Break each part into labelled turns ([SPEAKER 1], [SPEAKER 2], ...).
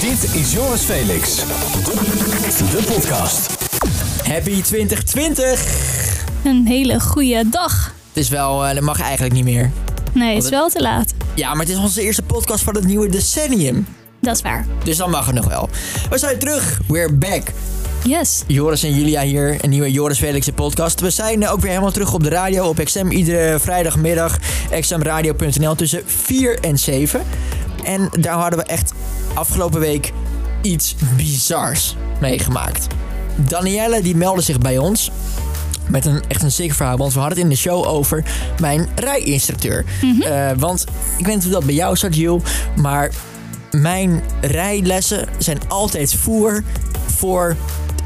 [SPEAKER 1] Dit is Joris Felix. De podcast.
[SPEAKER 2] Happy 2020!
[SPEAKER 3] Een hele goede dag.
[SPEAKER 2] Het is wel, eh, dat mag eigenlijk niet meer.
[SPEAKER 3] Nee, het is wel te laat.
[SPEAKER 2] Ja, maar het is onze eerste podcast van het nieuwe decennium.
[SPEAKER 3] Dat is waar.
[SPEAKER 2] Dus dan mag het nog wel. We zijn terug. We're back.
[SPEAKER 3] Yes.
[SPEAKER 2] Joris en Julia hier. Een nieuwe Joris Felix podcast. We zijn eh, ook weer helemaal terug op de radio op XM. Iedere vrijdagmiddag. XMradio.nl tussen 4 en 7. En daar hadden we echt afgelopen week iets bizars meegemaakt. Danielle die meldde zich bij ons. Met een, echt een ziek verhaal. Want we hadden het in de show over mijn rijinstructeur. Eh, want ik weet niet hoe dat bij jou zat, Jill. Maar mijn rijlessen zijn altijd voer voor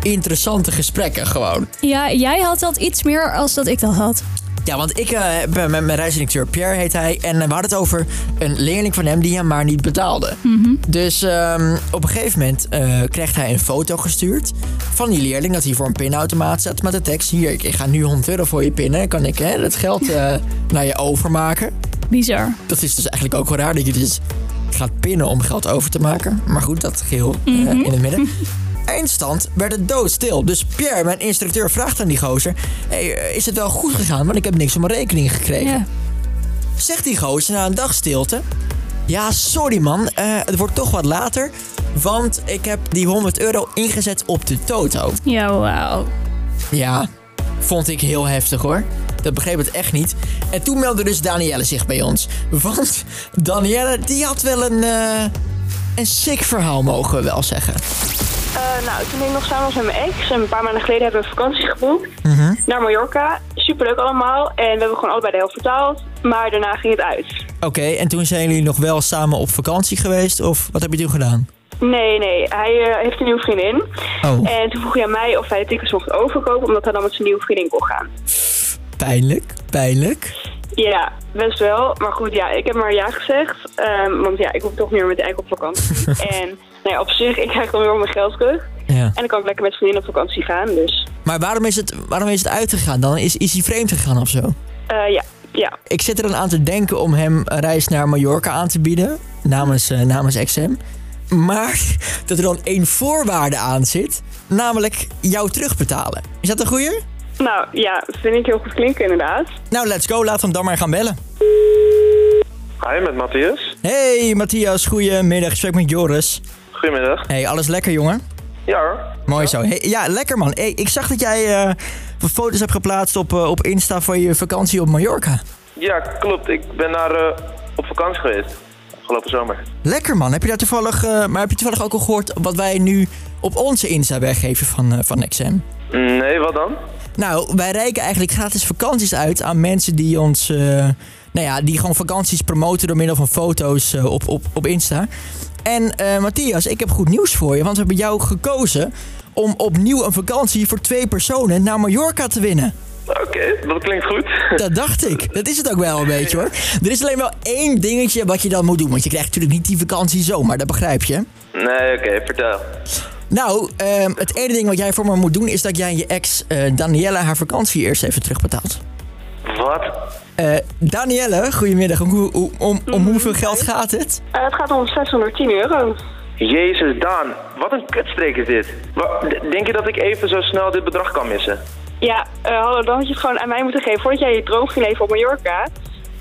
[SPEAKER 2] interessante gesprekken gewoon.
[SPEAKER 3] Ja, jij had dat iets meer als dat ik dat had.
[SPEAKER 2] Ja, want ik eh, heb met mijn reisdirecteur Pierre heet hij. En eh, we hadden het over een leerling van hem die hem maar niet betaalde. Dus ehm, op een gegeven moment eh, kreeg hij een foto gestuurd van die leerling. Dat hij voor een pinautomaat zat met de tekst. Hier, ik, ik ga nu 100 euro voor je pinnen. Kan ik hè, het geld eh, naar je overmaken?
[SPEAKER 3] Bizar.
[SPEAKER 2] Dat is dus eigenlijk ook wel raar dat je dus gaat pinnen om geld over te maken. Maar goed, dat geheel eh, in het midden. Eindstand werd het doodstil. Dus Pierre, mijn instructeur, vraagt aan die gozer... Hey, eh, is het wel goed gegaan? Want ik heb niks op mijn rekening gekregen.
[SPEAKER 3] Ja.
[SPEAKER 2] Zegt die gozer na een dag stilte... Ja, sorry man, eh, het wordt toch wat later... want ik heb die 100 euro ingezet op de toto.
[SPEAKER 3] Ja, wauw.
[SPEAKER 2] Ja, vond ik heel heftig hoor. Dat begreep het echt niet. En toen meldde dus Danielle zich bij ons. Want Danielle, die had wel een... eh, een sick verhaal, mogen we wel zeggen.
[SPEAKER 4] Eh, nou, toen ik nog samen was met mijn ex, een paar maanden geleden hebben we een vakantie geboekt naar Mallorca. Superleuk allemaal en we hebben gewoon allebei de helft betaald, maar daarna ging het uit.
[SPEAKER 2] Oké, en toen zijn jullie nog wel samen op vakantie geweest? Of wat heb je toen gedaan?
[SPEAKER 4] Nee, nee, hij eh, heeft een nieuwe vriendin.
[SPEAKER 2] Oh,
[SPEAKER 4] En toen vroeg hij aan mij of hij de tickets mocht overkopen, omdat hij dan met zijn nieuwe vriendin kon gaan.
[SPEAKER 2] pijnlijk, pijnlijk.
[SPEAKER 4] Ja, best wel. Maar goed, ja, ik heb maar ja gezegd. ehm, want ja, ik hoef toch meer met Eik op vakantie. en nou ja, op zich, ik krijg dan weer mijn geld terug.
[SPEAKER 2] Ja.
[SPEAKER 4] En dan kan ik lekker met vriendin op vakantie gaan, dus
[SPEAKER 2] Maar waarom is het, waarom is het uitgegaan dan? Is, is hij vreemd gegaan of zo?
[SPEAKER 4] eh, ja, ja.
[SPEAKER 2] Ik zit er dan aan te denken om hem een reis naar Mallorca aan te bieden. Namens, eh, namens XM. Maar dat er dan één voorwaarde aan zit. Namelijk jou terugbetalen. Is dat een goeie?
[SPEAKER 4] Nou ja, vind ik heel goed klinken inderdaad.
[SPEAKER 2] Nou, let's go. Laat hem dan maar gaan bellen.
[SPEAKER 5] Hi, met Matthias.
[SPEAKER 2] Hey Matthias, goedemiddag. Gesprek met Joris.
[SPEAKER 5] Goedemiddag.
[SPEAKER 2] Hey, alles lekker jongen?
[SPEAKER 5] Ja hoor.
[SPEAKER 2] Mooi zo. Hey, ja, lekker man. Hey, ik zag dat jij eh, wat foto's hebt geplaatst op, eh, op Insta van je vakantie op Mallorca.
[SPEAKER 5] Ja, klopt. Ik ben daar eh, op vakantie geweest. Afgelopen zomer.
[SPEAKER 2] Lekker man. Heb je daar toevallig, eh, maar heb je toevallig ook al gehoord wat wij nu op onze Insta weggeven van, eh, van XM?
[SPEAKER 5] Nee, wat dan?
[SPEAKER 2] Nou, wij reiken eigenlijk gratis vakanties uit aan mensen die ons. eh, nou ja, die gewoon vakanties promoten door middel van foto's eh, op, op, op Insta. En eh, Matthias, ik heb goed nieuws voor je, want we hebben jou gekozen om opnieuw een vakantie voor twee personen naar Mallorca te winnen.
[SPEAKER 5] Oké, dat klinkt goed.
[SPEAKER 2] Dat dacht ik. Dat is het ook wel een beetje hoor. Er is alleen wel één dingetje wat je dan moet doen, want je krijgt natuurlijk niet die vakantie zomaar, dat begrijp je.
[SPEAKER 5] Nee, oké, vertel.
[SPEAKER 2] Nou, ehm, het ene ding wat jij voor me moet doen is dat jij je ex eh Daniela haar vakantie eerst even terugbetaalt.
[SPEAKER 5] Wat?
[SPEAKER 2] Eh, Danielle, goedemiddag. Om, hoe- hoe- om, om hoeveel geld gaat het?
[SPEAKER 4] Eh, het gaat om 610 euro.
[SPEAKER 5] Jezus, Daan. Wat een kutstreek is dit. Wa- d- denk je dat ik even zo snel dit bedrag kan missen?
[SPEAKER 4] Ja, eh, hallo, dan had je het gewoon aan mij moeten geven voordat jij je droom ging leven op Mallorca.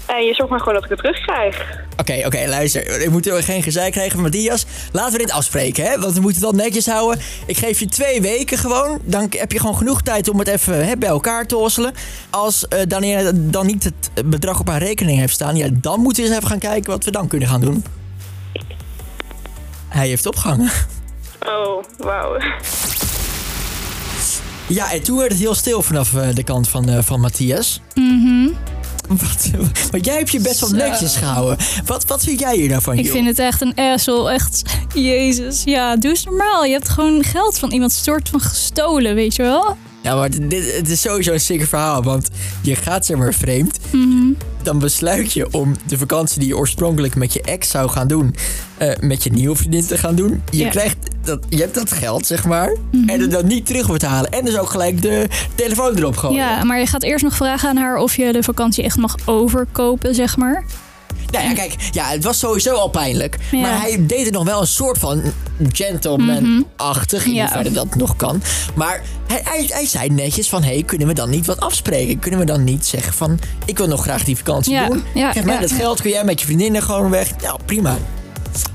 [SPEAKER 4] En je zorgt maar gewoon dat ik het terugkrijg.
[SPEAKER 2] Oké, oké, luister. Ik moet er geen gezeik krijgen van Matthias. Laten we dit afspreken, hè? Want we moeten dat netjes houden. Ik geef je twee weken gewoon. Dan heb je gewoon genoeg tijd om het even hè, bij elkaar te hosselen. Als eh Danielle dan niet het bedrag op haar rekening heeft staan... Ja, dan moeten we eens even gaan kijken wat we dan kunnen gaan doen. Hij heeft opgehangen.
[SPEAKER 4] Oh, wauw.
[SPEAKER 2] Ja, en toen werd het heel stil vanaf eh, de kant van, eh, van Matthias. Wat, want jij hebt je best wel
[SPEAKER 3] Mhm. Zo.
[SPEAKER 2] netjes gehouden. Wat, wat vind jij hier nou van,
[SPEAKER 3] Ik
[SPEAKER 2] joh?
[SPEAKER 3] vind het echt een asshole. Echt, jezus. Ja, doe eens normaal. Je hebt gewoon geld van iemand soort van gestolen, weet je wel?
[SPEAKER 2] Ja, Nou, maar dit, het is sowieso een sick verhaal, want je gaat zeg maar vreemd.
[SPEAKER 3] Mhm.
[SPEAKER 2] Dan besluit je om de vakantie die je oorspronkelijk met je ex zou gaan doen... eh, met je nieuwe vriendin te gaan doen. Je,
[SPEAKER 3] Ja. Mhm.
[SPEAKER 2] krijgt dat, je hebt dat geld, zeg maar. En het dan niet terug betalen. En dus ook gelijk de telefoon erop gooien.
[SPEAKER 3] Ja, maar je gaat eerst nog vragen aan haar of je de vakantie echt mag overkopen, zeg maar.
[SPEAKER 2] Nou ja, kijk, ja, het was sowieso al pijnlijk.
[SPEAKER 3] Ja.
[SPEAKER 2] Maar hij deed er nog wel een soort van gentleman-achtig, in
[SPEAKER 3] Mhm. Ja.
[SPEAKER 2] hoeverre dat nog kan. Maar hij, hij, hij zei netjes van, hey, kunnen we dan niet wat afspreken? Kunnen we dan niet zeggen van, ik wil nog graag die vakantie
[SPEAKER 3] Ja,
[SPEAKER 2] doen.
[SPEAKER 3] ja,
[SPEAKER 2] Geef mij
[SPEAKER 3] ja,
[SPEAKER 2] dat
[SPEAKER 3] ja.
[SPEAKER 2] geld, kun jij met je vriendinnen gewoon weg? Nou, prima.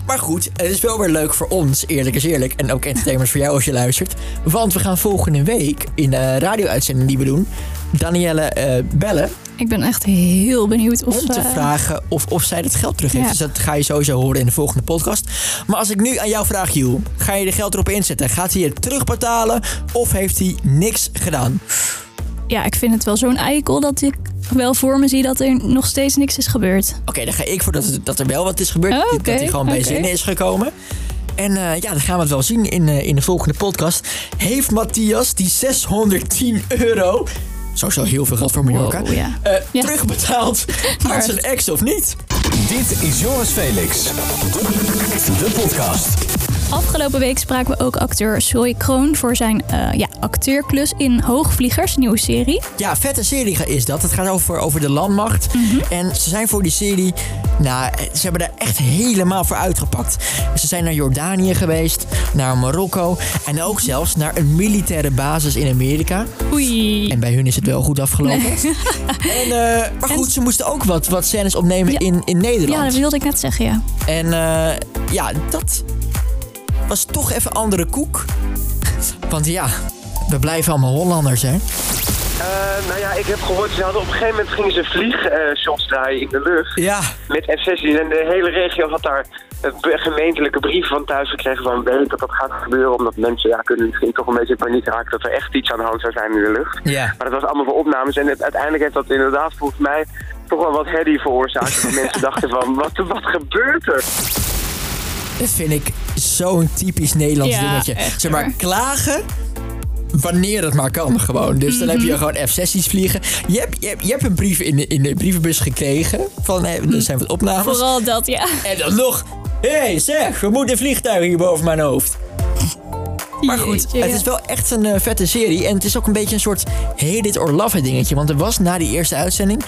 [SPEAKER 2] Maar goed, het is wel weer leuk voor ons, eerlijk is eerlijk. En ook entertainers voor jou als je luistert. Want we gaan volgende week in de radio-uitzending die we doen... Danielle eh, bellen
[SPEAKER 3] Ik ben echt heel benieuwd of...
[SPEAKER 2] om te
[SPEAKER 3] eh,
[SPEAKER 2] vragen of, of zij dat geld terug heeft.
[SPEAKER 3] Ja.
[SPEAKER 2] Dus dat ga je sowieso horen in de volgende podcast. Maar als ik nu aan jou vraag, Joel, ga je er geld erop inzetten? Gaat hij het terugbetalen of heeft hij niks gedaan?
[SPEAKER 3] Ja, ik vind het wel zo'n eikel dat ik wel voor me zie dat er nog steeds niks is gebeurd.
[SPEAKER 2] Oké, dan ga ik voor dat, dat er wel wat is gebeurd.
[SPEAKER 3] Oh,
[SPEAKER 2] Dat-
[SPEAKER 3] oké,
[SPEAKER 2] dat hij gewoon bij
[SPEAKER 3] oké.
[SPEAKER 2] zinnen is gekomen. En eh, ja, dan gaan we het wel zien in, eh, in de volgende podcast. Heeft Matthias die 610 euro, sowieso heel veel geld voor Mallorca,
[SPEAKER 3] Wow, ja.
[SPEAKER 2] eh,
[SPEAKER 3] Ja.
[SPEAKER 2] terugbetaald aan zijn ex of niet?
[SPEAKER 1] Dit is Joris Felix. De podcast.
[SPEAKER 3] Afgelopen week spraken we ook acteur Soy Kroon voor zijn eh, ja, acteurklus in Hoogvliegers, nieuwe serie.
[SPEAKER 2] Ja, vette serie is dat. Het gaat over, over de landmacht.
[SPEAKER 3] Mhm.
[SPEAKER 2] En ze zijn voor die serie... Nou, ze hebben daar echt helemaal voor uitgepakt. Ze zijn naar Jordanië geweest, naar Marokko... en ook zelfs naar een militaire basis in Amerika.
[SPEAKER 3] Oei.
[SPEAKER 2] En bij hun is het wel goed afgelopen. En, eh, maar goed, ze moesten ook wat, wat scènes opnemen
[SPEAKER 3] Ja.
[SPEAKER 2] in, in
[SPEAKER 3] Ja, dat
[SPEAKER 2] Nederland.
[SPEAKER 3] wilde ik net zeggen, ja.
[SPEAKER 2] En eh, ja, dat was toch even andere koek. Want ja, we blijven allemaal Hollanders, hè?
[SPEAKER 5] Eh, nou ja, ik heb gehoord, ze hadden op een gegeven moment gingen ze vliegshots draaien in de lucht.
[SPEAKER 2] Ja,
[SPEAKER 5] Met F-16 en de hele regio had daar een be- gemeentelijke brief van thuis gekregen van weet dat dat gaat gebeuren. Omdat mensen ja, kunnen misschien toch een beetje in paniek raken dat er echt iets aan de hand zou zijn in de lucht.
[SPEAKER 2] Ja.
[SPEAKER 5] Maar dat was allemaal voor opnames en het, uiteindelijk heeft dat inderdaad volgens mij toch wel wat herrie veroorzaakt. Dat mensen dachten van wat, wat gebeurt er?
[SPEAKER 2] Dat vind ik zo'n typisch Nederlands
[SPEAKER 3] Ja,
[SPEAKER 2] dingetje.
[SPEAKER 3] echt
[SPEAKER 2] zeg maar,
[SPEAKER 3] hoor.
[SPEAKER 2] klagen wanneer het maar kan gewoon. Dus dan
[SPEAKER 3] Mhm.
[SPEAKER 2] heb je gewoon F-sessies vliegen. Je hebt, je, hebt, je hebt een brief in de, in de brievenbus gekregen van, hé, er zijn wat opnames.
[SPEAKER 3] Vooral dat, ja.
[SPEAKER 2] En dan nog, hé hey, zeg, we moeten een vliegtuig hier boven mijn hoofd. Maar goed,
[SPEAKER 3] Jeetje,
[SPEAKER 2] het
[SPEAKER 3] ja.
[SPEAKER 2] is wel echt een eh, vette serie. En het is ook een beetje een soort hate it or love it dingetje. Want er was na die eerste uitzending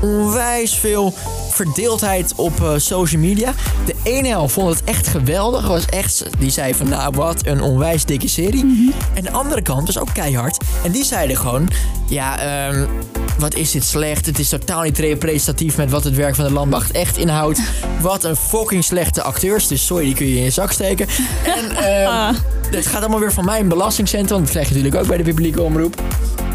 [SPEAKER 2] onwijs veel verdeeldheid op eh, social media. De ene helft vond het echt geweldig. Was echt, die zei van nou wat een onwijs dikke serie. En de andere kant was ook keihard. En die zeiden gewoon, ja ehm, wat is dit slecht. Het is totaal niet representatief met wat het werk van de landmacht echt inhoudt. Wat een fucking slechte acteurs. Dus sorry, die kun je in je zak steken. En ehm, het gaat allemaal weer van mij in belastingcentrum. Dat krijg je natuurlijk ook bij de publieke omroep.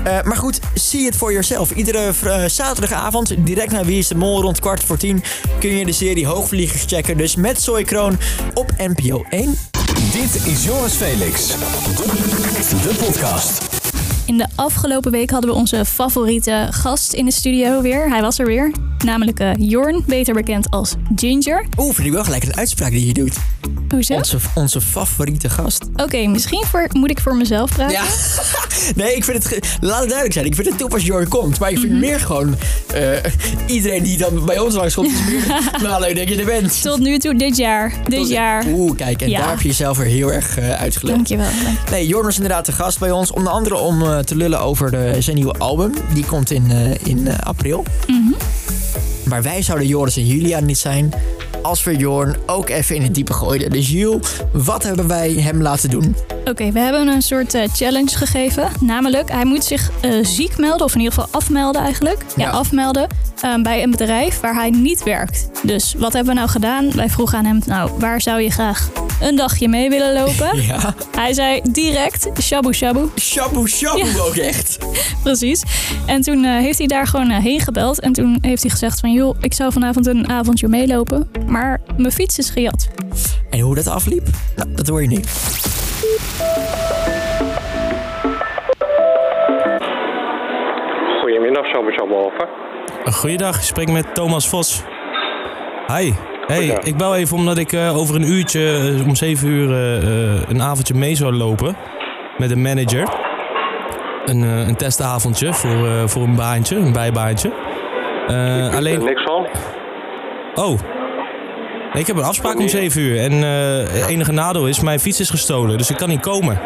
[SPEAKER 2] Eh, maar goed, see it for yourself. Iedere vr- eh, zaterdagavond, direct na Wie is de Mol, rond kwart voor tien... kun je de serie Hoogvliegers checken. Dus met Soy Kroon op NPO 1.
[SPEAKER 1] Dit is Joris Felix. De podcast.
[SPEAKER 3] In de afgelopen week hadden we onze favoriete gast in de studio weer. Hij was er weer. Namelijk eh, Jorn, beter bekend als Ginger.
[SPEAKER 2] Oeh, vind ik wel gelijk een uitspraak die je doet.
[SPEAKER 3] Hoezo?
[SPEAKER 2] Onze, onze favoriete gast.
[SPEAKER 3] Oké, misschien voor, moet ik voor mezelf praten.
[SPEAKER 2] Ja. Nee, ik vind het... ge- Laat het duidelijk zijn. Ik vind het top als Jorn komt. Maar ik vind meer gewoon... eh, iedereen die dan bij ons langs komt... is meer, nou, leuk dat je er bent.
[SPEAKER 3] Tot nu toe, dit jaar. Dit jaar.
[SPEAKER 2] Oeh, kijk. En
[SPEAKER 3] Ja.
[SPEAKER 2] daar heb je jezelf weer heel erg eh uitgelegd.
[SPEAKER 3] Dankjewel.
[SPEAKER 2] Nee, Jorn was inderdaad de gast bij ons. Onder andere om eh, te lullen over de, zijn nieuwe album. Die komt in, eh, in eh, april.
[SPEAKER 3] Mhm.
[SPEAKER 2] Maar wij zouden Joris en Julia niet zijn als we Jorn ook even in het diepe gooiden. Dus Jul, wat hebben wij hem laten doen?
[SPEAKER 3] Oké, we hebben hem een soort eh, challenge gegeven. Namelijk, hij moet zich eh, ziek melden, of in ieder geval afmelden eigenlijk. Ja,
[SPEAKER 2] Ja.
[SPEAKER 3] afmelden eh, bij een bedrijf waar hij niet werkt. Dus wat hebben we nou gedaan? Wij vroegen aan hem, nou, waar zou je graag een dagje mee willen lopen?
[SPEAKER 2] Ja,
[SPEAKER 3] Hij zei direct, shabu shabu,
[SPEAKER 2] shabu shabu
[SPEAKER 3] Ja.
[SPEAKER 2] ook echt.
[SPEAKER 3] precies. En toen eh, heeft hij daar gewoon eh, heen gebeld. En toen heeft hij gezegd van, joh, ik zou vanavond een avondje meelopen. Maar mijn fiets is gejat.
[SPEAKER 2] En hoe dat afliep? Nou, dat hoor je nu.
[SPEAKER 5] Goedemiddag, Shabu Shabalfa.
[SPEAKER 6] Goeiedag, ik spreek met Thomas Vos. Hi. Hey,
[SPEAKER 5] Goeiedag.
[SPEAKER 6] ik bel even omdat ik eh, over een uurtje, eh, om 7 uur, eh, eh, een avondje mee zou lopen met een manager. Een, eh, een testavondje voor, eh, voor een baantje, een bijbaantje. Eh, alleen.
[SPEAKER 5] Niks van.
[SPEAKER 6] Oh. Ik heb een afspraak om 7 uur en eh, het enige nadeel is, mijn fiets is gestolen, dus ik kan niet komen.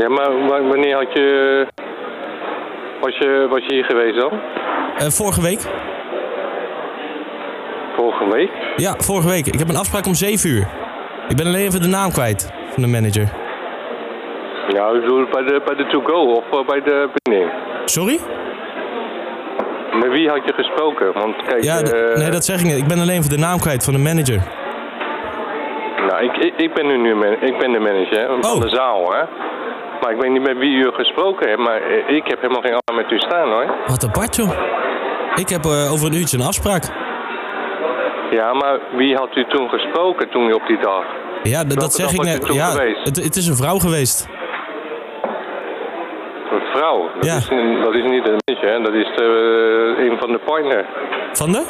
[SPEAKER 5] Ja, maar wa- wanneer had je... Was je, was je hier geweest dan?
[SPEAKER 6] Eh, vorige week?
[SPEAKER 7] volgende week?
[SPEAKER 6] Ja, vorige week. Ik heb een afspraak om 7 uur. Ik ben alleen even de naam kwijt van de manager.
[SPEAKER 7] Nou, ik bedoel bij de, bij de to-go of eh, bij de bediening.
[SPEAKER 6] Sorry?
[SPEAKER 7] Met wie had je gesproken? Want kijk,
[SPEAKER 6] Ja, d-
[SPEAKER 7] eh,
[SPEAKER 6] nee, dat zeg ik niet. Ik ben alleen even de naam kwijt van de manager.
[SPEAKER 7] nou, ik, ik, ik ben nu, nu man- ik ben de manager hè, van
[SPEAKER 6] Oh.
[SPEAKER 7] de zaal, hè. Maar ik weet niet met wie u gesproken hebt, maar eh, ik heb helemaal geen afspraak met u staan, hoor.
[SPEAKER 6] Wat apart, joh. Ik heb eh, over een uurtje een afspraak.
[SPEAKER 7] Ja, maar wie had u toen gesproken, toen u op die dag?
[SPEAKER 6] Ja, d- dat
[SPEAKER 7] Welke
[SPEAKER 6] zeg
[SPEAKER 7] dag
[SPEAKER 6] ik
[SPEAKER 7] was je
[SPEAKER 6] net.
[SPEAKER 7] toen
[SPEAKER 6] Ja,
[SPEAKER 7] geweest?
[SPEAKER 6] het, het is een vrouw geweest.
[SPEAKER 7] Een vrouw. Dat,
[SPEAKER 6] Ja.
[SPEAKER 7] is, een- dat is niet een manager, hè. Dat is de, eh, een van de partner.
[SPEAKER 6] Van de?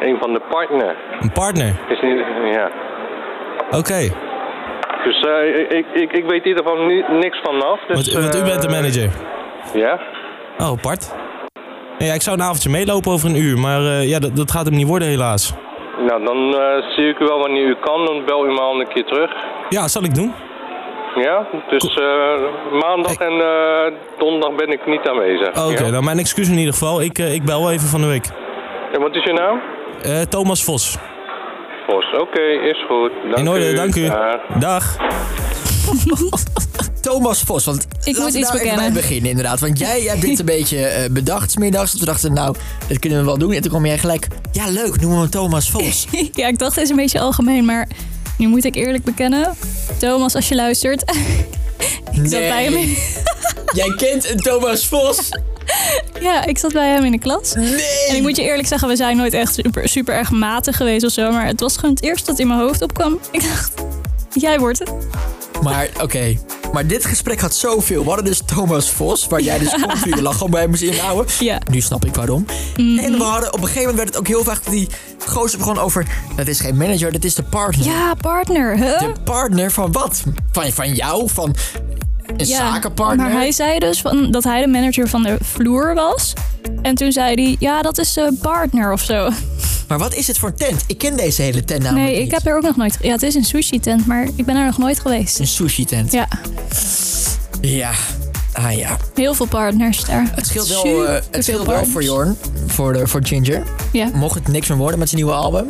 [SPEAKER 7] Een van de partner.
[SPEAKER 6] Een partner.
[SPEAKER 7] Is niet, ja.
[SPEAKER 6] Oké.
[SPEAKER 7] Dus eh, ik, ik, ik weet in ieder geval ni- niks vanaf. Dus,
[SPEAKER 6] Want, want u
[SPEAKER 7] eh,
[SPEAKER 6] bent de manager.
[SPEAKER 7] Ja?
[SPEAKER 6] Oh, apart. Nee, ja, ik zou een avondje meelopen over een uur, maar eh, ja, dat, dat gaat hem niet worden helaas.
[SPEAKER 7] Nou, dan eh, zie ik u wel wanneer u kan. Dan bel u me al een keer terug.
[SPEAKER 6] Ja, zal ik doen.
[SPEAKER 7] Ja? Dus eh, maandag en eh, donderdag ben ik niet aanwezig.
[SPEAKER 6] Oké,
[SPEAKER 7] Ja?
[SPEAKER 6] nou mijn excuus in ieder geval. Ik, eh, ik bel wel even van de week.
[SPEAKER 7] En wat is je naam?
[SPEAKER 6] Eh, Thomas Vos.
[SPEAKER 7] Vos. Oké, is goed. Dank
[SPEAKER 6] In orde, dank u.
[SPEAKER 7] Dag.
[SPEAKER 6] Dag.
[SPEAKER 2] Thomas Vos, want laten
[SPEAKER 3] moet
[SPEAKER 2] we
[SPEAKER 3] iets
[SPEAKER 2] daar even
[SPEAKER 3] bekennen.
[SPEAKER 2] bij beginnen inderdaad. Want jij hebt dit een beetje eh, bedacht 's middags. Toen dachten we, nou, dat kunnen we wel doen. En toen kwam jij gelijk, ja leuk, noemen we hem Thomas Vos.
[SPEAKER 3] Ja, ik dacht het is een beetje algemeen, maar nu moet ik eerlijk bekennen. Thomas, als je luistert, ik zat bij hem.
[SPEAKER 2] jij kent een Thomas Vos?
[SPEAKER 3] Ja, ik zat bij hem in de klas.
[SPEAKER 2] Nee!
[SPEAKER 3] En ik moet je eerlijk zeggen, we zijn nooit echt super, super erg matig geweest of zo. Maar het was gewoon het eerste dat in mijn hoofd opkwam. Ik dacht, jij wordt het.
[SPEAKER 2] Maar oké. Maar dit gesprek had zoveel. We hadden dus Thomas Vos, waar jij dus continu je lach gewoon bij moest inhouden.
[SPEAKER 3] Ja. Mhm.
[SPEAKER 2] Nu snap ik waarom. En we hadden op een gegeven moment werd het ook heel vaak die gozer begon over... Dat is geen manager, dat is de partner.
[SPEAKER 3] Ja, partner, hè?
[SPEAKER 2] De partner van wat? Van, van jou? Van een
[SPEAKER 3] ja,
[SPEAKER 2] zakenpartner?
[SPEAKER 3] Maar hij zei dus van, dat hij de manager van de vloer was. En toen zei hij, ja, dat is een partner of
[SPEAKER 2] Oh,
[SPEAKER 3] zo.
[SPEAKER 2] Maar wat is het voor tent? Ik ken deze hele tent namelijk
[SPEAKER 3] Nee, ik
[SPEAKER 2] niet.
[SPEAKER 3] heb er ook nog nooit... Ja, het is een sushi-tent, maar ik ben er nog nooit geweest.
[SPEAKER 2] Een sushi tent.
[SPEAKER 3] Ja,
[SPEAKER 2] Ja. Ah ja.
[SPEAKER 3] heel veel partners daar.
[SPEAKER 2] Het scheelt wel, eh,
[SPEAKER 3] Superveel
[SPEAKER 2] het scheelt wel
[SPEAKER 3] partners.
[SPEAKER 2] voor Jorn. Voor, de, voor Ginger.
[SPEAKER 3] Ja,
[SPEAKER 2] Mocht het niks meer worden met zijn nieuwe album...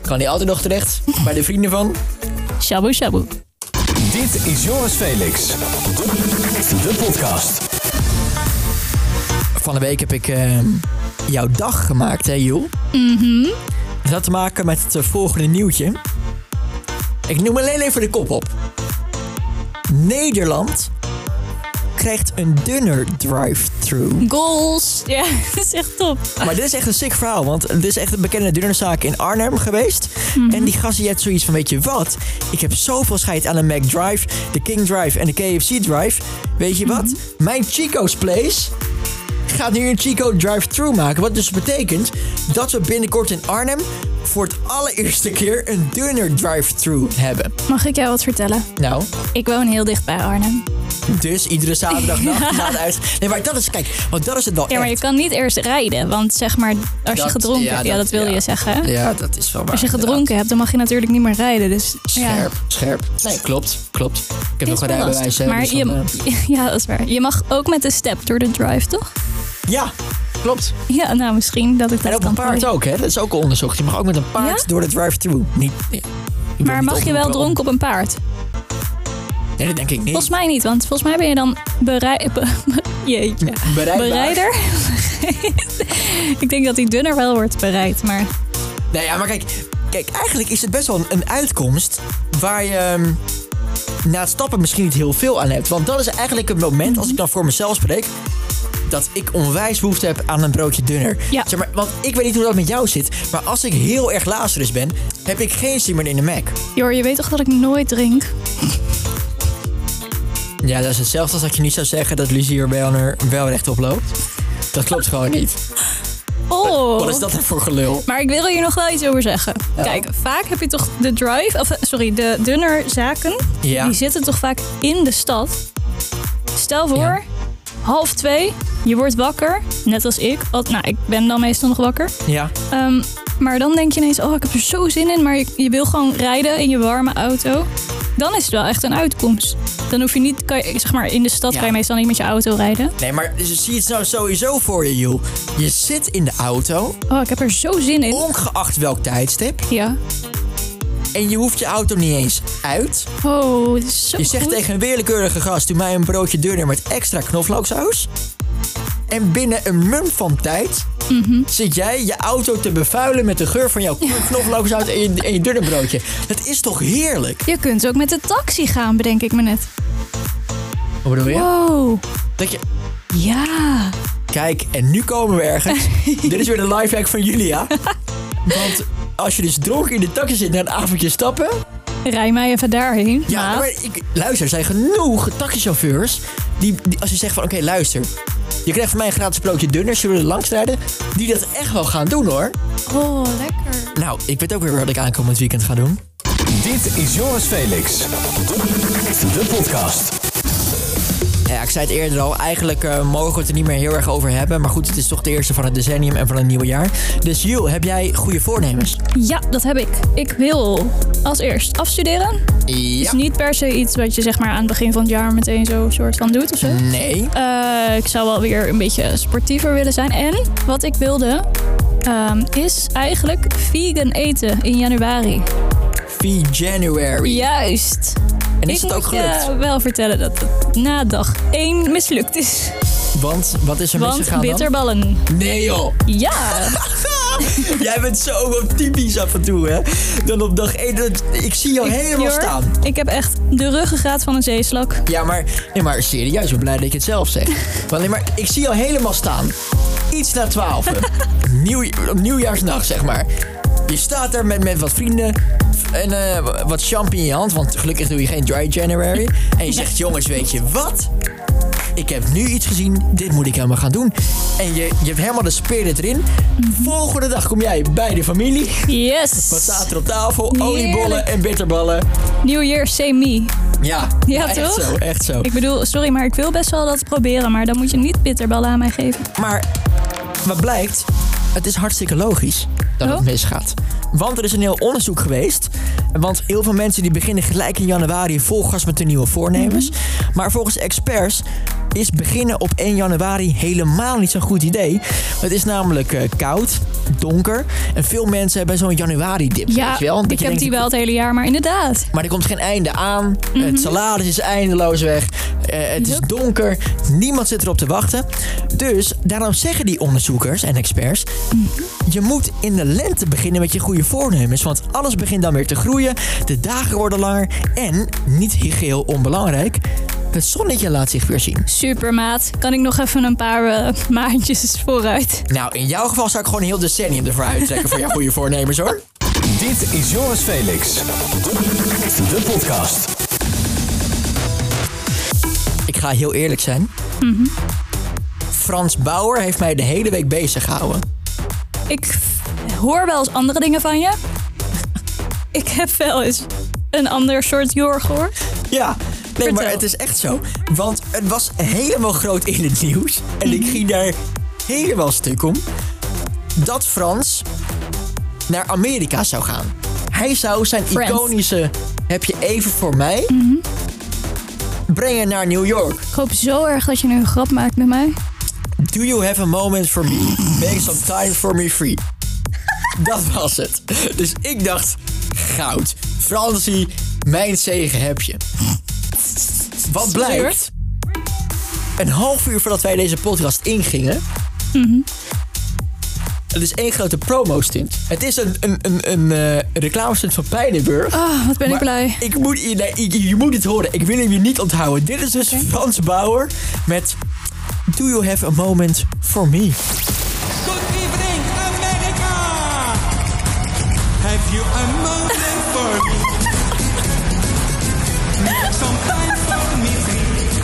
[SPEAKER 2] kan hij altijd nog terecht bij de vrienden van...
[SPEAKER 3] shabu shabu.
[SPEAKER 1] Dit is Joris Felix. De podcast.
[SPEAKER 2] Van de week heb ik ehm, jouw dag gemaakt, hè, Joel? Mhm. Dat had te maken met het eh, volgende nieuwtje. Ik noem alleen even de kop op. Nederland krijgt een dunner drive-thru.
[SPEAKER 3] Goals. Ja, dat is echt top.
[SPEAKER 2] Maar dit is echt een sick verhaal, want het is echt een bekende dunnerzaak in Arnhem geweest.
[SPEAKER 3] Mhm.
[SPEAKER 2] En die gast die had zoiets van, weet je wat? Ik heb zoveel scheid aan de Mac Drive, de King Drive en de KFC Drive. Weet je
[SPEAKER 3] Mhm.
[SPEAKER 2] wat? Mijn Chico's Place gaat nu een Chico Drive-Thru maken. Wat dus betekent dat we binnenkort in Arnhem voor het allereerste keer een dunner drive-thru hebben.
[SPEAKER 3] Mag ik jou wat vertellen?
[SPEAKER 2] Nou,
[SPEAKER 3] Ik woon heel dicht bij Arnhem.
[SPEAKER 2] dus iedere zaterdagnacht na de uit. Nee, maar dat is, kijk, want dat is het wel
[SPEAKER 3] Ja, maar je
[SPEAKER 2] echt.
[SPEAKER 3] kan niet eerst rijden, want zeg maar, als je
[SPEAKER 2] Dat-
[SPEAKER 3] gedronken
[SPEAKER 2] ja,
[SPEAKER 3] hebt, ja,
[SPEAKER 2] dat-
[SPEAKER 3] dat wil
[SPEAKER 2] ja.
[SPEAKER 3] je zeggen. hè?
[SPEAKER 2] Ja, dat is wel waar.
[SPEAKER 3] Als je
[SPEAKER 2] inderdaad.
[SPEAKER 3] gedronken hebt, dan mag je natuurlijk niet meer rijden. Dus ja,
[SPEAKER 2] Scherp, scherp. Nee, klopt, klopt. Ik heb
[SPEAKER 3] het
[SPEAKER 2] nog
[SPEAKER 3] is
[SPEAKER 2] geen
[SPEAKER 3] wel lastig.
[SPEAKER 2] rijbewijs. hè,
[SPEAKER 3] Maar
[SPEAKER 2] dus dan,
[SPEAKER 3] je,
[SPEAKER 2] eh,
[SPEAKER 3] ja, dat is waar. Je mag ook met de step door de drive, toch?
[SPEAKER 2] ja, klopt.
[SPEAKER 3] Ja, nou misschien dat ik dat
[SPEAKER 2] En op
[SPEAKER 3] kan
[SPEAKER 2] een paard
[SPEAKER 3] proberen.
[SPEAKER 2] ook, hè? Dat is ook onderzocht. Je mag ook met een paard
[SPEAKER 3] Ja?
[SPEAKER 2] door de drive-thru. Niet. nee, ik wil
[SPEAKER 3] Maar
[SPEAKER 2] niet
[SPEAKER 3] mag je wel
[SPEAKER 2] oproepen om-
[SPEAKER 3] dronken op een paard?
[SPEAKER 2] Nee, dat denk ik niet.
[SPEAKER 3] Volgens mij niet, want volgens mij ben je dan berei be- be- jeetje.
[SPEAKER 2] Bereidbaar.
[SPEAKER 3] berijder. ik denk dat die dunner wel wordt bereid, maar
[SPEAKER 2] Nou ja, maar kijk, kijk, eigenlijk is het best wel een, een uitkomst waar je ehm, na het stappen misschien niet heel veel aan hebt. Want dat is eigenlijk het moment, als ik dan voor mezelf spreek, dat ik onwijs behoefte heb aan een broodje dunner.
[SPEAKER 3] Ja.
[SPEAKER 2] Zeg maar, want ik weet niet hoe dat met jou zit, maar als ik heel erg lazerus ben, heb ik geen zin meer in de Mac.
[SPEAKER 3] Jor, je weet toch dat ik nooit drink?
[SPEAKER 2] Oh, Ja, dat is hetzelfde als dat je niet zou zeggen dat Lizier Werner wel rechtop loopt. Dat klopt gewoon niet.
[SPEAKER 3] Oh.
[SPEAKER 2] Wat is dat dan voor gelul?
[SPEAKER 3] Maar ik wil hier nog wel iets over zeggen. Kijk, vaak heb je toch de drive, of eh, sorry, de dunner zaken.
[SPEAKER 2] Ja.
[SPEAKER 3] Die zitten toch vaak in de stad. Stel voor,
[SPEAKER 2] Ja.
[SPEAKER 3] half twee, je wordt wakker. Net als ik. Al- nou, ik ben dan meestal nog wakker.
[SPEAKER 2] Ja.
[SPEAKER 3] Ehm, maar dan denk je ineens, oh, ik heb er zo zin in. Maar je, je wil gewoon rijden in je warme auto. dan is het wel echt een uitkomst. Dan hoef je niet, kan je, zeg maar, in de stad
[SPEAKER 2] Ja.
[SPEAKER 3] kan je meestal niet met je auto rijden.
[SPEAKER 2] Nee, maar zie je het nou sowieso voor je, Joel. Je zit in de auto,
[SPEAKER 3] Oh, ik heb er zo zin in.
[SPEAKER 2] ongeacht welk tijdstip.
[SPEAKER 3] Ja.
[SPEAKER 2] En je hoeft je auto niet eens uit.
[SPEAKER 3] Oh, dit is zo
[SPEAKER 2] Je zegt
[SPEAKER 3] goed.
[SPEAKER 2] tegen een willekeurige gast: doe mij een broodje dunner met extra knoflooksaus. En binnen een mum van tijd zit jij je auto te bevuilen met de geur van jouw knoflooksaus en je, en je dunne broodje. Dat is toch heerlijk?
[SPEAKER 3] Je kunt ook met de taxi gaan, bedenk ik me net.
[SPEAKER 2] Wat bedoel je?
[SPEAKER 3] Wow.
[SPEAKER 2] Dat je
[SPEAKER 3] Ja.
[SPEAKER 2] Kijk, en nu komen we ergens. Dit is weer de lifehack van Julia. Want als je dus dronken in de taxi zit naar een avondje stappen...
[SPEAKER 3] Rij mij even daarheen.
[SPEAKER 2] Ja,
[SPEAKER 3] maat.
[SPEAKER 2] maar ik, luister, er zijn genoeg taxichauffeurs... Die, die als je zegt van, oké, luister... Je krijgt van mij een gratis broodje dunner, zullen we er langs rijden? Die dat echt wel gaan doen, hoor.
[SPEAKER 3] Oh, lekker.
[SPEAKER 2] Nou, ik weet ook weer wat ik aankomend weekend ga doen.
[SPEAKER 1] Dit is Joris Felix. De podcast.
[SPEAKER 2] Ja, ik zei het eerder al, eigenlijk eh, mogen we het er niet meer heel erg over hebben. Maar goed, het is toch de eerste van het decennium en van het nieuwe jaar. Dus Jules, heb jij goede voornemens?
[SPEAKER 3] Ja, dat heb ik. Ik wil als eerst afstuderen.
[SPEAKER 2] Ja.
[SPEAKER 3] Is niet per se iets wat je zeg maar aan het begin van het jaar meteen zo soort van doet of zo.
[SPEAKER 2] Nee.
[SPEAKER 3] Eh, ik zou wel weer een beetje sportiever willen zijn. En wat ik wilde ehm, is eigenlijk vegan eten in januari.
[SPEAKER 2] 4 January.
[SPEAKER 3] Juist.
[SPEAKER 2] En is
[SPEAKER 3] ik
[SPEAKER 2] het ook
[SPEAKER 3] moet eh, je
[SPEAKER 2] gelukt?
[SPEAKER 3] wel vertellen dat het na dag 1 mislukt is.
[SPEAKER 2] Want wat is er
[SPEAKER 3] Want
[SPEAKER 2] misgegaan dan?
[SPEAKER 3] bitterballen.
[SPEAKER 2] Nee joh.
[SPEAKER 3] Ja.
[SPEAKER 2] Jij bent zo op typisch af en toe hè. Dan op dag 1, ik zie jou helemaal
[SPEAKER 3] Jor,
[SPEAKER 2] staan.
[SPEAKER 3] Ik heb echt de ruggengraat van een zeeslak.
[SPEAKER 2] Ja, maar, nee, maar serieus, ik ben blij dat ik het zelf zeg. Want nee, maar ik zie jou helemaal staan. Iets na 12. Nieuw, op nieuwjaarsnacht, zeg maar. Je staat daar met, met wat vrienden en eh, wat champ in je hand, want gelukkig doe je geen dry January. En je zegt, jongens, weet je wat? Ik heb nu iets gezien, dit moet ik helemaal gaan doen. En je, je hebt helemaal de spirit erin. Volgende dag kom jij bij de familie.
[SPEAKER 3] Yes.
[SPEAKER 2] Wat staat er op tafel? Oliebollen en bitterballen.
[SPEAKER 3] New Year, same me.
[SPEAKER 2] Ja,
[SPEAKER 3] Ja,
[SPEAKER 2] echt
[SPEAKER 3] toch?
[SPEAKER 2] zo, echt zo.
[SPEAKER 3] Ik bedoel, sorry, maar ik wil best wel dat proberen. Maar dan moet je niet bitterballen aan mij geven.
[SPEAKER 2] Maar wat blijkt, het is hartstikke logisch dat het
[SPEAKER 3] Oh.
[SPEAKER 2] misgaat. Want er is een heel onderzoek geweest. Want heel veel mensen die beginnen gelijk in januari vol gas met hun nieuwe voornemens. Maar volgens experts is beginnen op 1 januari helemaal niet zo'n goed idee. Het is namelijk eh, koud, donker en veel mensen hebben zo'n januari-dip. weet je wel? Dat
[SPEAKER 3] ik
[SPEAKER 2] je
[SPEAKER 3] heb
[SPEAKER 2] denkt,
[SPEAKER 3] die wel het hele jaar. Maar inderdaad.
[SPEAKER 2] maar er komt geen einde aan. Het salaris is eindeloos weg. Eh, het is
[SPEAKER 3] Yup.
[SPEAKER 2] donker. Niemand zit erop te wachten. Dus daarom zeggen die onderzoekers en experts... je moet in de lente beginnen met je goede voornemens. Want alles begint dan weer te groeien. De dagen worden langer. En, niet geheel onbelangrijk... het zonnetje laat zich weer zien.
[SPEAKER 3] Supermaat. Kan ik nog even een paar eh, maandjes vooruit?
[SPEAKER 2] Nou, in jouw geval zou ik gewoon een heel decennium ervoor uittrekken... voor jouw goede voornemens, hoor.
[SPEAKER 1] Dit is Joris Felix. De podcast.
[SPEAKER 2] Ik ga heel eerlijk zijn. Frans Bauer heeft mij de hele week bezig gehouden.
[SPEAKER 3] Ik f- hoor wel eens andere dingen van je. ik heb wel eens een ander soort Jor gehoord.
[SPEAKER 2] Ja, nee, maar
[SPEAKER 3] Vertel.
[SPEAKER 2] het is echt zo. Want het was helemaal groot in het nieuws. En
[SPEAKER 3] Mhm.
[SPEAKER 2] ik ging daar helemaal stuk om. Dat Frans naar Amerika zou gaan. Hij zou zijn
[SPEAKER 3] Friends. Mhm.
[SPEAKER 2] iconische Heb je even voor mij? Brengen naar New York.
[SPEAKER 3] Ik hoop zo erg dat je nu een grap maakt met mij.
[SPEAKER 2] Do you have a moment for me? Make some time for me free. Dat was het. Dus ik dacht, goud. Fransie, mijn zegen heb je. Wat blijkt? Een half uur voordat wij deze podcast ingingen... Het is één grote promo-stunt. Het is een, een, een, een eh, reclame-stunt van Pijnenburg.
[SPEAKER 3] Ah, wat ben ik
[SPEAKER 2] Maar
[SPEAKER 3] blij.
[SPEAKER 2] Ik moet, je- nee, je- je moet het horen. Ik wil hem je niet onthouden. Dit is dus Frans Bauer met Do You Have a Moment for Me?
[SPEAKER 8] Good evening, America! Have you a moment for me? Make some time for me, please.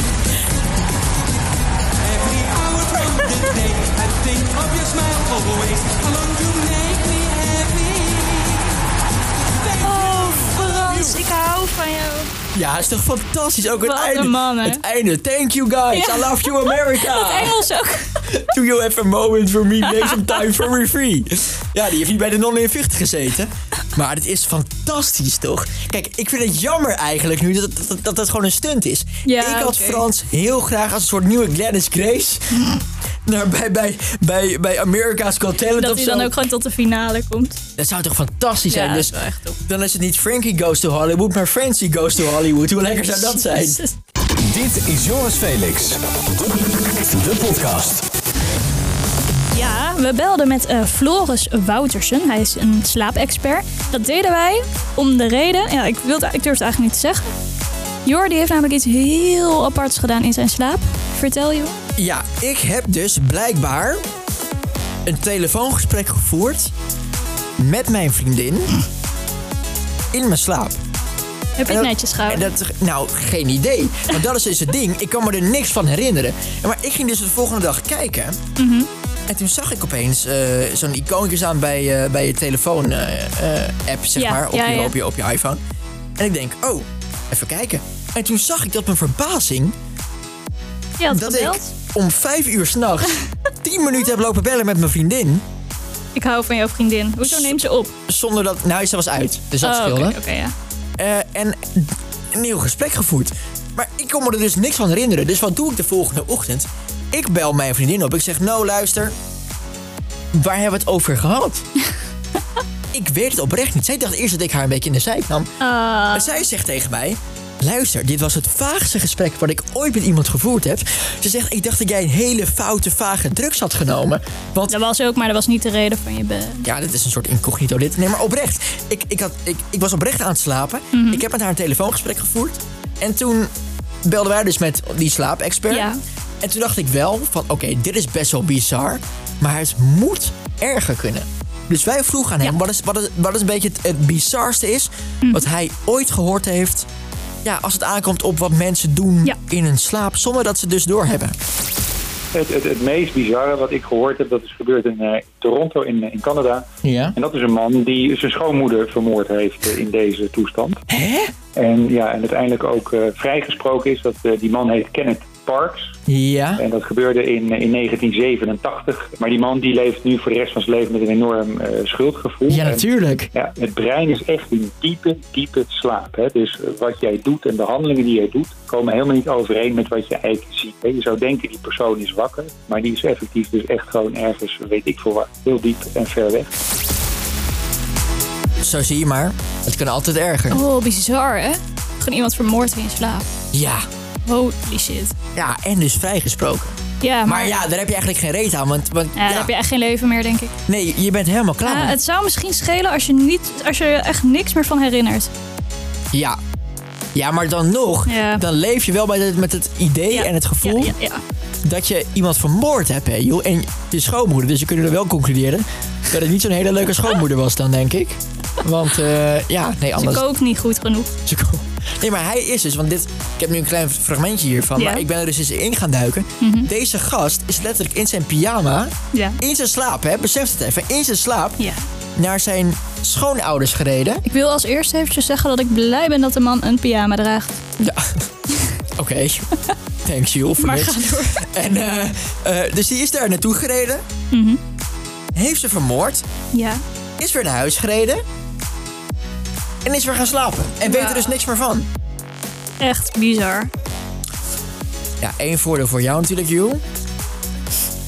[SPEAKER 8] Every hour from the day, I think of your smile always. Along you make me happy.
[SPEAKER 3] Oh, Frans, ik hou van jou.
[SPEAKER 2] Ja, is toch fantastisch? Ook het
[SPEAKER 3] Wat een
[SPEAKER 2] einde.
[SPEAKER 3] man, hè?
[SPEAKER 2] Het einde. Thank you guys.
[SPEAKER 3] Ja.
[SPEAKER 2] I love you
[SPEAKER 3] Dat
[SPEAKER 2] America.
[SPEAKER 3] Engels ook.
[SPEAKER 2] Do you have a moment for me? Make some time for me free. Ja, die heeft niet bij de non 50 gezeten. Maar dit is fantastisch, toch? Kijk, ik vind het jammer eigenlijk nu dat het- dat, dat, dat gewoon een stunt is.
[SPEAKER 3] Ja,
[SPEAKER 2] ik had
[SPEAKER 3] oké.
[SPEAKER 2] Frans heel graag als een soort nieuwe Gladys Grace... Naar, bij, bij, bij, bij America's Got Talent
[SPEAKER 3] Dat
[SPEAKER 2] of
[SPEAKER 3] hij
[SPEAKER 2] zo.
[SPEAKER 3] dan ook gewoon tot de finale komt.
[SPEAKER 2] Dat zou toch fantastisch zijn?
[SPEAKER 3] Ja,
[SPEAKER 2] dus
[SPEAKER 3] dat is wel echt top.
[SPEAKER 2] dan is het niet Frankie goes to Hollywood, maar Francie goes to Hollywood. Hoe lekker zou dat zijn?
[SPEAKER 3] Dus-
[SPEAKER 1] Dit is Joris Felix. De podcast.
[SPEAKER 3] Ja, we belden met eh, Floris Woutersen. Hij is een slaapexpert. Dat deden wij om de reden... Ja, ik, wil het- ik durf het eigenlijk niet te zeggen. Jordi heeft namelijk iets heel aparts gedaan in zijn slaap. Vertel je.
[SPEAKER 2] Ja, ik heb dus blijkbaar een telefoongesprek gevoerd met mijn vriendin in mijn slaap.
[SPEAKER 3] Heb je het netjes
[SPEAKER 2] En
[SPEAKER 3] gehouden?
[SPEAKER 2] dat, nou, geen idee. Want dat is dus het ding. Ik kan me er niks van herinneren. En Maar ik ging dus de volgende dag kijken.
[SPEAKER 3] Mhm.
[SPEAKER 2] En toen zag ik opeens eh, zo'n icoontje staan bij, eh, bij je telefoon-app, zeg
[SPEAKER 3] Ja,
[SPEAKER 2] maar. Op,
[SPEAKER 3] ja,
[SPEAKER 2] je,
[SPEAKER 3] ja.
[SPEAKER 2] Op, je, op je iPhone. En ik denk, oh, even kijken. En toen zag ik tot mijn verbazing
[SPEAKER 3] Je had
[SPEAKER 2] dat
[SPEAKER 3] gebeld.
[SPEAKER 2] ik om vijf uur s'nachts tien minuten heb lopen bellen met mijn vriendin.
[SPEAKER 3] Ik hou van jouw vriendin. Hoezo neemt ze op?
[SPEAKER 2] Zonder dat... Nou, ze was uit. Dus dat
[SPEAKER 3] Oh,
[SPEAKER 2] scheelde.
[SPEAKER 3] Oké, oké, ja.
[SPEAKER 2] Eh, en een nieuw gesprek gevoerd. Maar ik kon me er dus niks van herinneren. Dus wat doe ik de volgende ochtend? Ik bel mijn vriendin op. Ik zeg, nou luister, waar hebben we het over gehad? ik weet het oprecht niet. Zij dacht eerst dat ik haar een beetje in de zijk nam. En zij zegt tegen mij, luister, dit was het vaagste gesprek wat ik ooit met iemand gevoerd heb. Ze zegt, ik dacht dat jij een hele foute, vage drugs had genomen. Want
[SPEAKER 3] Dat was ook, maar dat was niet de reden van je bed.
[SPEAKER 2] ja, dit is een soort incognito dit. Nee, maar oprecht. Ik, ik, had, ik, ik was oprecht aan het slapen.
[SPEAKER 3] Mhm.
[SPEAKER 2] Ik heb met haar een telefoongesprek gevoerd. En toen belden wij dus met die slaapexpert.
[SPEAKER 3] Ja.
[SPEAKER 2] En toen dacht ik wel van, oké, dit is best wel bizar. Maar het moet erger kunnen. Dus wij vroegen aan hem
[SPEAKER 3] Ja. Mhm.
[SPEAKER 2] wat, is, wat, is, wat is een beetje het, het bizarste is... wat hij ooit gehoord heeft... Ja, als het aankomt op wat mensen doen
[SPEAKER 3] Ja.
[SPEAKER 2] in hun slaap... zonder dat ze het dus doorhebben.
[SPEAKER 9] Het, het, het meest bizarre wat ik gehoord heb, dat is gebeurd in eh, Toronto in, eh, in Canada.
[SPEAKER 2] Ja.
[SPEAKER 9] En dat is een man die zijn schoonmoeder vermoord heeft eh, in deze toestand.
[SPEAKER 2] Hè?
[SPEAKER 9] En, ja, en uiteindelijk ook eh, vrijgesproken is. Dat, eh, die man heet Kenneth Parks.
[SPEAKER 2] Ja.
[SPEAKER 9] En dat gebeurde in, eh, in 1987. Maar die man die leeft nu voor de rest van zijn leven met een enorm eh, schuldgevoel.
[SPEAKER 2] Ja,
[SPEAKER 9] En,
[SPEAKER 2] natuurlijk.
[SPEAKER 9] ja, het brein is echt in diepe, diepe slaap. Hè? Dus eh, wat jij doet en de handelingen die jij doet, komen helemaal niet overeen met wat je eigenlijk ziet. Hè? Je zou denken die persoon is wakker, maar die is effectief dus echt gewoon ergens, weet ik veel waar, heel diep en ver weg.
[SPEAKER 2] Zo zie je maar. Het kan altijd erger.
[SPEAKER 3] Oh, bizar, hè? Gewoon iemand vermoord in je slaap.
[SPEAKER 2] Ja.
[SPEAKER 3] Holy shit.
[SPEAKER 2] Ja, en dus vrijgesproken.
[SPEAKER 3] Ja, maar,
[SPEAKER 2] Maar ja, daar heb je eigenlijk geen reet aan. Want, want
[SPEAKER 3] Ja,
[SPEAKER 2] ja,
[SPEAKER 3] dan heb je echt geen leven meer, denk ik.
[SPEAKER 2] nee, je bent helemaal klaar.
[SPEAKER 3] Ah, het zou misschien schelen als je, niet, als je er echt niks meer van herinnert.
[SPEAKER 2] Ja. Ja, maar dan nog,
[SPEAKER 3] Ja.
[SPEAKER 2] dan leef je wel met het, met het idee
[SPEAKER 3] Ja,
[SPEAKER 2] en het gevoel
[SPEAKER 3] Ja, ja, ja.
[SPEAKER 2] dat je iemand vermoord hebt, hè, joh. En je schoonmoeder, dus we kunnen er wel concluderen dat het niet zo'n hele leuke schoonmoeder was dan, denk ik. Want, eh, ja, nee,
[SPEAKER 3] Ze
[SPEAKER 2] anders...
[SPEAKER 3] kookt niet goed genoeg.
[SPEAKER 2] Ze ko- Nee, maar hij is dus, want dit, ik heb nu een klein fragmentje hiervan,
[SPEAKER 3] Ja. Mhm.
[SPEAKER 2] maar ik ben er dus eens in gaan duiken. Deze gast is letterlijk in zijn pyjama,
[SPEAKER 3] Ja.
[SPEAKER 2] in zijn slaap, hè, besef het even, in zijn slaap
[SPEAKER 3] Ja.
[SPEAKER 2] naar zijn schoonouders gereden.
[SPEAKER 3] Ik wil als eerst eventjes zeggen dat ik blij ben dat de man een pyjama draagt.
[SPEAKER 2] Ja. Oké. Thanks, Jules, voor
[SPEAKER 3] Maar
[SPEAKER 2] niks.
[SPEAKER 3] ga door.
[SPEAKER 2] En, eh, eh, dus die is daar naartoe gereden.
[SPEAKER 3] Mhm.
[SPEAKER 2] Heeft ze vermoord.
[SPEAKER 3] Ja.
[SPEAKER 2] Is weer naar huis gereden. En is weer gaan slapen. En weet er
[SPEAKER 3] Wauw.
[SPEAKER 2] dus niks meer van.
[SPEAKER 3] Echt bizar.
[SPEAKER 2] Ja, één voordeel voor jou natuurlijk, Jules.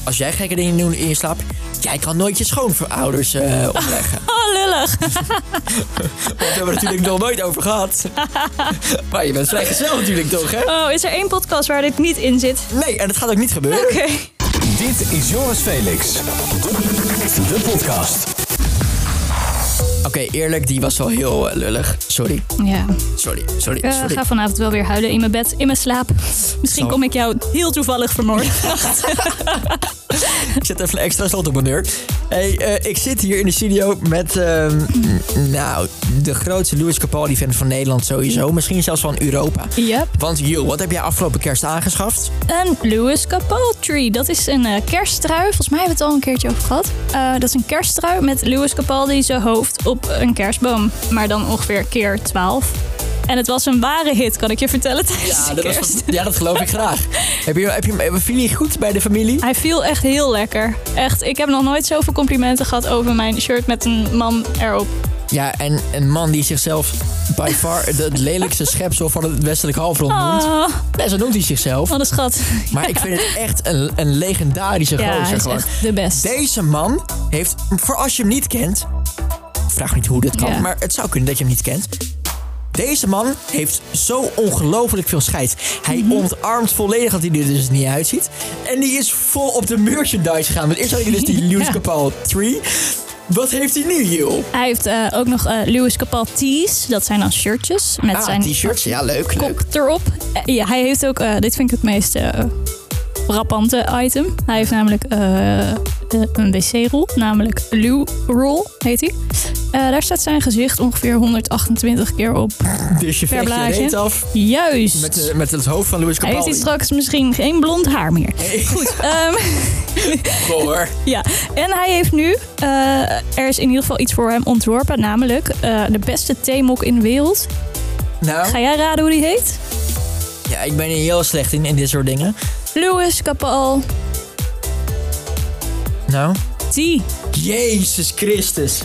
[SPEAKER 2] Als jij gekke dingen doet in je slaap... Jij kan nooit je schoonouders eh opleggen.
[SPEAKER 3] Oh, lullig.
[SPEAKER 2] Daar hebben we natuurlijk nog nooit over gehad. maar je bent vrijgezel natuurlijk toch, hè?
[SPEAKER 3] Oh, is er één podcast waar dit niet in zit?
[SPEAKER 2] Nee, en dat gaat ook niet gebeuren.
[SPEAKER 3] Oké.
[SPEAKER 1] Dit is Joris Felix. De podcast.
[SPEAKER 2] Oké, eerlijk, die was wel heel eh, lullig. Sorry,
[SPEAKER 3] Ja.
[SPEAKER 2] sorry, sorry,
[SPEAKER 3] Ik eh,
[SPEAKER 2] sorry.
[SPEAKER 3] ga vanavond wel weer huilen in mijn bed, in mijn slaap. Misschien
[SPEAKER 2] Zo.
[SPEAKER 3] kom ik jou heel toevallig vermoord.
[SPEAKER 2] Ik zet even een extra slot op mijn deur. Hey, eh, ik zit hier in de studio met, ehm, n- nou, de grootste Louis Capaldi-fan van Nederland sowieso. Misschien zelfs van Europa.
[SPEAKER 3] Yep.
[SPEAKER 2] Want, joh, wat heb jij afgelopen kerst aangeschaft?
[SPEAKER 3] Een Louis Capaldi. Dat is een eh, kersttrui. Volgens mij hebben we het al een keertje over gehad. Eh, dat is een kersttrui met Louis Capaldi zijn hoofd op een kerstboom. Maar dan ongeveer keer 12. En het was een ware hit, kan ik je vertellen tijdens de kerst.
[SPEAKER 2] ja, dat geloof ik graag. Heb je, heb je, heb je- viel je goed bij de familie?
[SPEAKER 3] Hij viel echt heel lekker. Echt, ik heb nog nooit zoveel complimenten gehad over mijn shirt met een man erop.
[SPEAKER 2] Ja, en een man die zichzelf by far het lelijkste schepsel van het westelijk halfrond noemt.
[SPEAKER 3] Oh,
[SPEAKER 2] Nee, zo noemt hij zichzelf.
[SPEAKER 3] wat een schat.
[SPEAKER 2] Maar ik vind het echt een, een legendarische
[SPEAKER 3] ja, hij
[SPEAKER 2] gozer
[SPEAKER 3] is
[SPEAKER 2] gewoon.
[SPEAKER 3] echt de best.
[SPEAKER 2] Deze man heeft, voor als je hem niet kent... Vraag niet hoe dit kan,
[SPEAKER 3] Ja.
[SPEAKER 2] maar het zou kunnen dat je hem niet kent. Deze man heeft zo ongelooflijk veel scheid. Hij
[SPEAKER 3] Mhm.
[SPEAKER 2] ontarmt volledig dat hij er dus niet uitziet. En die is vol op de merchandise gegaan. Want eerst had hij dus die Lewis
[SPEAKER 3] Ja.
[SPEAKER 2] Capaldi 3. Wat heeft hij nu, joh?
[SPEAKER 3] Hij heeft eh, ook nog eh, Lewis Capal tees. Dat zijn dan shirtjes met
[SPEAKER 2] Ah,
[SPEAKER 3] zijn
[SPEAKER 2] t-shirts. Ja, leuk, leuk.
[SPEAKER 3] kop erop. Eh, ja, hij heeft ook, eh, dit vind ik het meest eh, frappante item. Hij heeft namelijk eh, eh, een wc-rol, namelijk Lou Roll heet hij. Eh, daar staat zijn gezicht ongeveer 128 keer op.
[SPEAKER 2] Dus je veegt je
[SPEAKER 3] blaadje.
[SPEAKER 2] reet af
[SPEAKER 3] Juist.
[SPEAKER 2] met, eh, met het hoofd van Lewis
[SPEAKER 3] hij heeft
[SPEAKER 2] Capaldi.
[SPEAKER 3] hij straks misschien geen blond haar meer. Goed. ehm,
[SPEAKER 2] Hoor.
[SPEAKER 3] ja, en hij heeft nu, eh, er is in ieder geval iets voor hem ontworpen, namelijk eh, de beste theemok in de wereld.
[SPEAKER 2] Nou,
[SPEAKER 3] Ga jij raden hoe die heet?
[SPEAKER 2] ja, ik ben hier heel slecht in, in dit soort dingen.
[SPEAKER 3] Lewis Capal
[SPEAKER 2] Nou,
[SPEAKER 3] Tea.
[SPEAKER 2] Jezus Christus.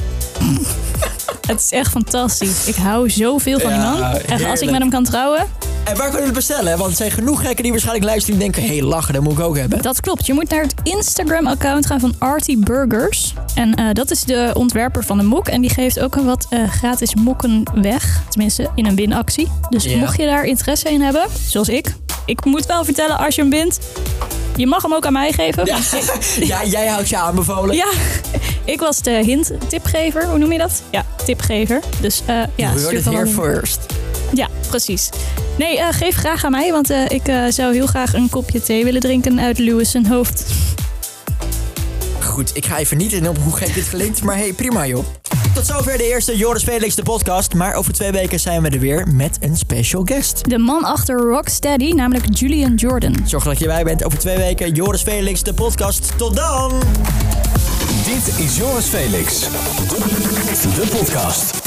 [SPEAKER 3] Het is echt fantastisch. Ik hou zoveel van die
[SPEAKER 2] Ja,
[SPEAKER 3] man. Echt, als ik
[SPEAKER 2] heerlijk.
[SPEAKER 3] met hem kan trouwen,
[SPEAKER 2] En waar kunnen we het bestellen? Want er zijn genoeg gekken die waarschijnlijk luisteren en denken... hé, hey, lachen, dat moet ik ook hebben.
[SPEAKER 3] dat klopt. Je moet naar het Instagram-account gaan van Artie Burgers. En eh, dat is de ontwerper van de mok. En die geeft ook een wat eh, gratis mokken weg. Tenminste, in een winactie. Dus
[SPEAKER 2] Ja.
[SPEAKER 3] mocht je daar interesse in hebben, zoals ik. Ik moet wel vertellen, als je hem wint, je mag hem ook aan mij geven.
[SPEAKER 2] Ja, ja jij houdt je aanbevolen.
[SPEAKER 3] Ja, ik was de hint tipgever. Hoe noem je dat? Ja, tipgever. Dus eh ja,
[SPEAKER 2] We heard
[SPEAKER 3] stuur
[SPEAKER 2] it
[SPEAKER 3] van
[SPEAKER 2] here
[SPEAKER 3] allen-
[SPEAKER 2] first.
[SPEAKER 3] Ja, precies. Nee, eh, geef graag aan mij, want eh, ik eh, zou heel graag een kopje thee willen drinken uit Lewis' zijn hoofd.
[SPEAKER 2] Goed, ik ga even niet in op hoe gek dit klinkt, maar hey, prima joh. Tot zover de eerste Joris Felix de podcast. Maar over twee weken zijn we er weer met een special guest.
[SPEAKER 3] De man achter Rocksteady, namelijk Julian Jordan.
[SPEAKER 2] Zorg dat je bij bent over twee weken. Joris Felix de podcast. Tot dan!
[SPEAKER 1] Dit is Joris Felix. De podcast.